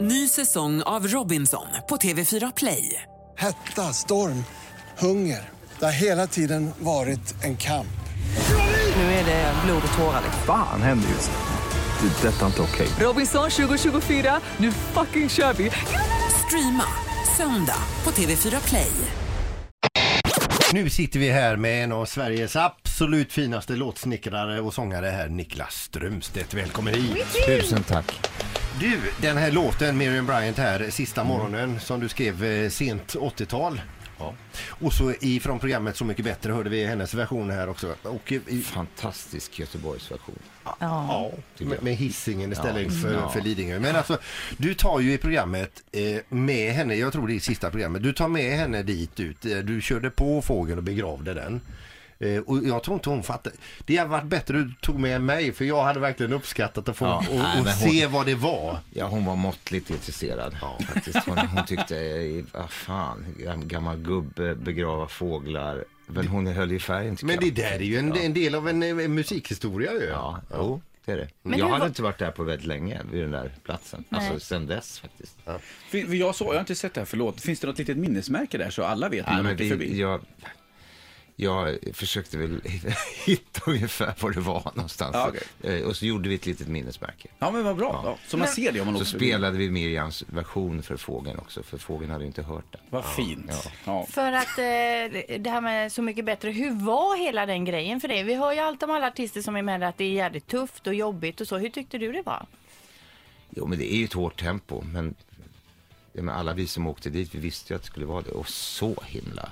Ny säsong av Robinson på TV4 Play. Hetta, storm, hunger. Det har hela tiden varit en kamp. Nu är det blod och tårar. liksom. Fan händer just nu. Det. är Detta är inte okej. Robinson 2024, nu fucking kör vi! Streama söndag på TV4 Play. Nu sitter vi här med en av Sveriges absolut finaste låtsnickrare och sångare här, Niklas Strömstedt. Välkommen hit! Tusen tack. Du, den här låten, Miriam Bryant här, Sista morgonen, som du skrev eh, sent 80-tal. Och så ifrån programmet Så mycket bättre hörde vi hennes version här också. Och eh, i, i, Fantastisk Göteborgsversion. ja, med, med hissingen istället Ja. för, Ja. för Lidingö. Men alltså, du tar ju i programmet eh, med henne, jag tror det är sista programmet, du tar med henne dit ut. Eh, Du körde på fågeln och begravde den. Eh, och jag tror inte hon fattar. Det hade varit bättre du tog med mig för jag hade verkligen uppskattat att få Ja. och, Nej, och men hon- se vad det var. Ja, hon var måttligt intresserad. Faktiskt. Hon, hon tyckte, vad fan, gam- gammal gubbe, begrava fåglar. Men hon höll ju färgen tycker Men det jag. där är ju en, en del av en, eh, musikhistoria ju. Ja, jo, det är det. Men jag hur hade var- inte varit där på väldigt länge vid den där platsen. Alltså sen dess faktiskt. För, för jag, så, jag har inte sett det här, förlåt. Finns det något litet minnesmärke där så alla vet när Nej, de men åker det, förbi? jag, jag försökte väl hitta ungefär var det var någonstans. Ja, okej. Eh, Och så gjorde vi ett litet minnesmärke. Ja, men vad bra. Ja. Så man ser det om man Så åker förbi. spelade vi Miriams version för fågeln också, för fågeln hade ju inte hört den. Vad fint. Ja. Ja. För att eh, det här med Så mycket bättre, hur var hela den grejen för dig? Vi hör ju allt om alla artister som är med att det är jävligt tufft och jobbigt och så. Hur tyckte du det var? Jo, men det är ju ett hårt tempo. Men, ja, men alla vi som åkte dit, vi visste ju att det skulle vara det. Och så himla...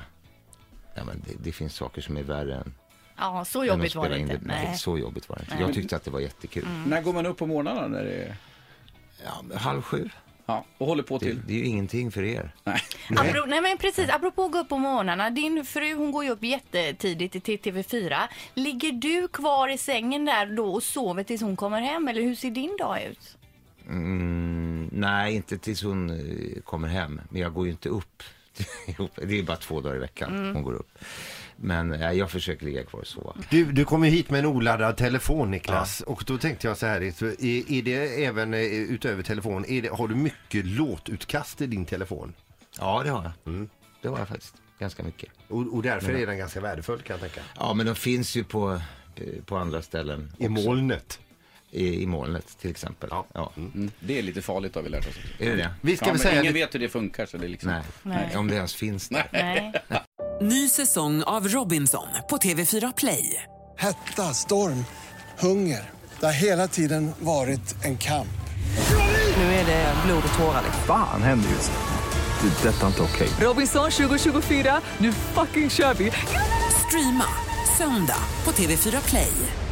Ja, men det, det finns saker som är värre än, Ja, än så att jobbigt var spela det in inte. det. Nej, Nej. Mm. så jobbigt var det inte. Jag tyckte att det var jättekul. När går man upp på morgnarna? När det är... Ja, men halv sju, ja. Och håller på det, till? det är ju ingenting för er. Nej. Apro- nej men precis, apropå att gå upp på morgnarna. Din fru hon går ju upp jättetidigt till TV4. Ligger du kvar i sängen där då och sover tills hon kommer hem eller hur ser din dag ut? Mm, nej, inte tills hon eh, kommer hem. Men jag går ju inte upp. Det är bara två dagar i veckan Mm. hon går upp. Men eh, jag försöker ligga kvar och sova. Du, du kom ju hit med en oladdad telefon Niklas och då tänkte jag så här, är, är det även eh, utöver telefon, är det, har du mycket låtutkast i din telefon? Ja, det har jag. Mm. Det har jag faktiskt. Ganska mycket. Och, och därför Mm. är den ganska värdefull kan jag tänka. Ja, men de finns ju på, eh, på andra ställen. I också. molnet. I, i molnet till exempel. Ja. Mm. Det är lite farligt har vi lärt oss. också. Är det det? Vi ska ja, väl men säga ingen det- vet hur det funkar. Så det är liksom... Nej. Nej. om det ens finns där. Nej. Ny säsong av Robinson på TV4 Play. Hetta, storm, hunger. Det har hela tiden varit en kamp. Nu är det blod och tårar. Fan händer just nu. Det. är Detta är inte okej. Robinson 2024, nu fucking kör vi! Streama söndag på TV4 Play.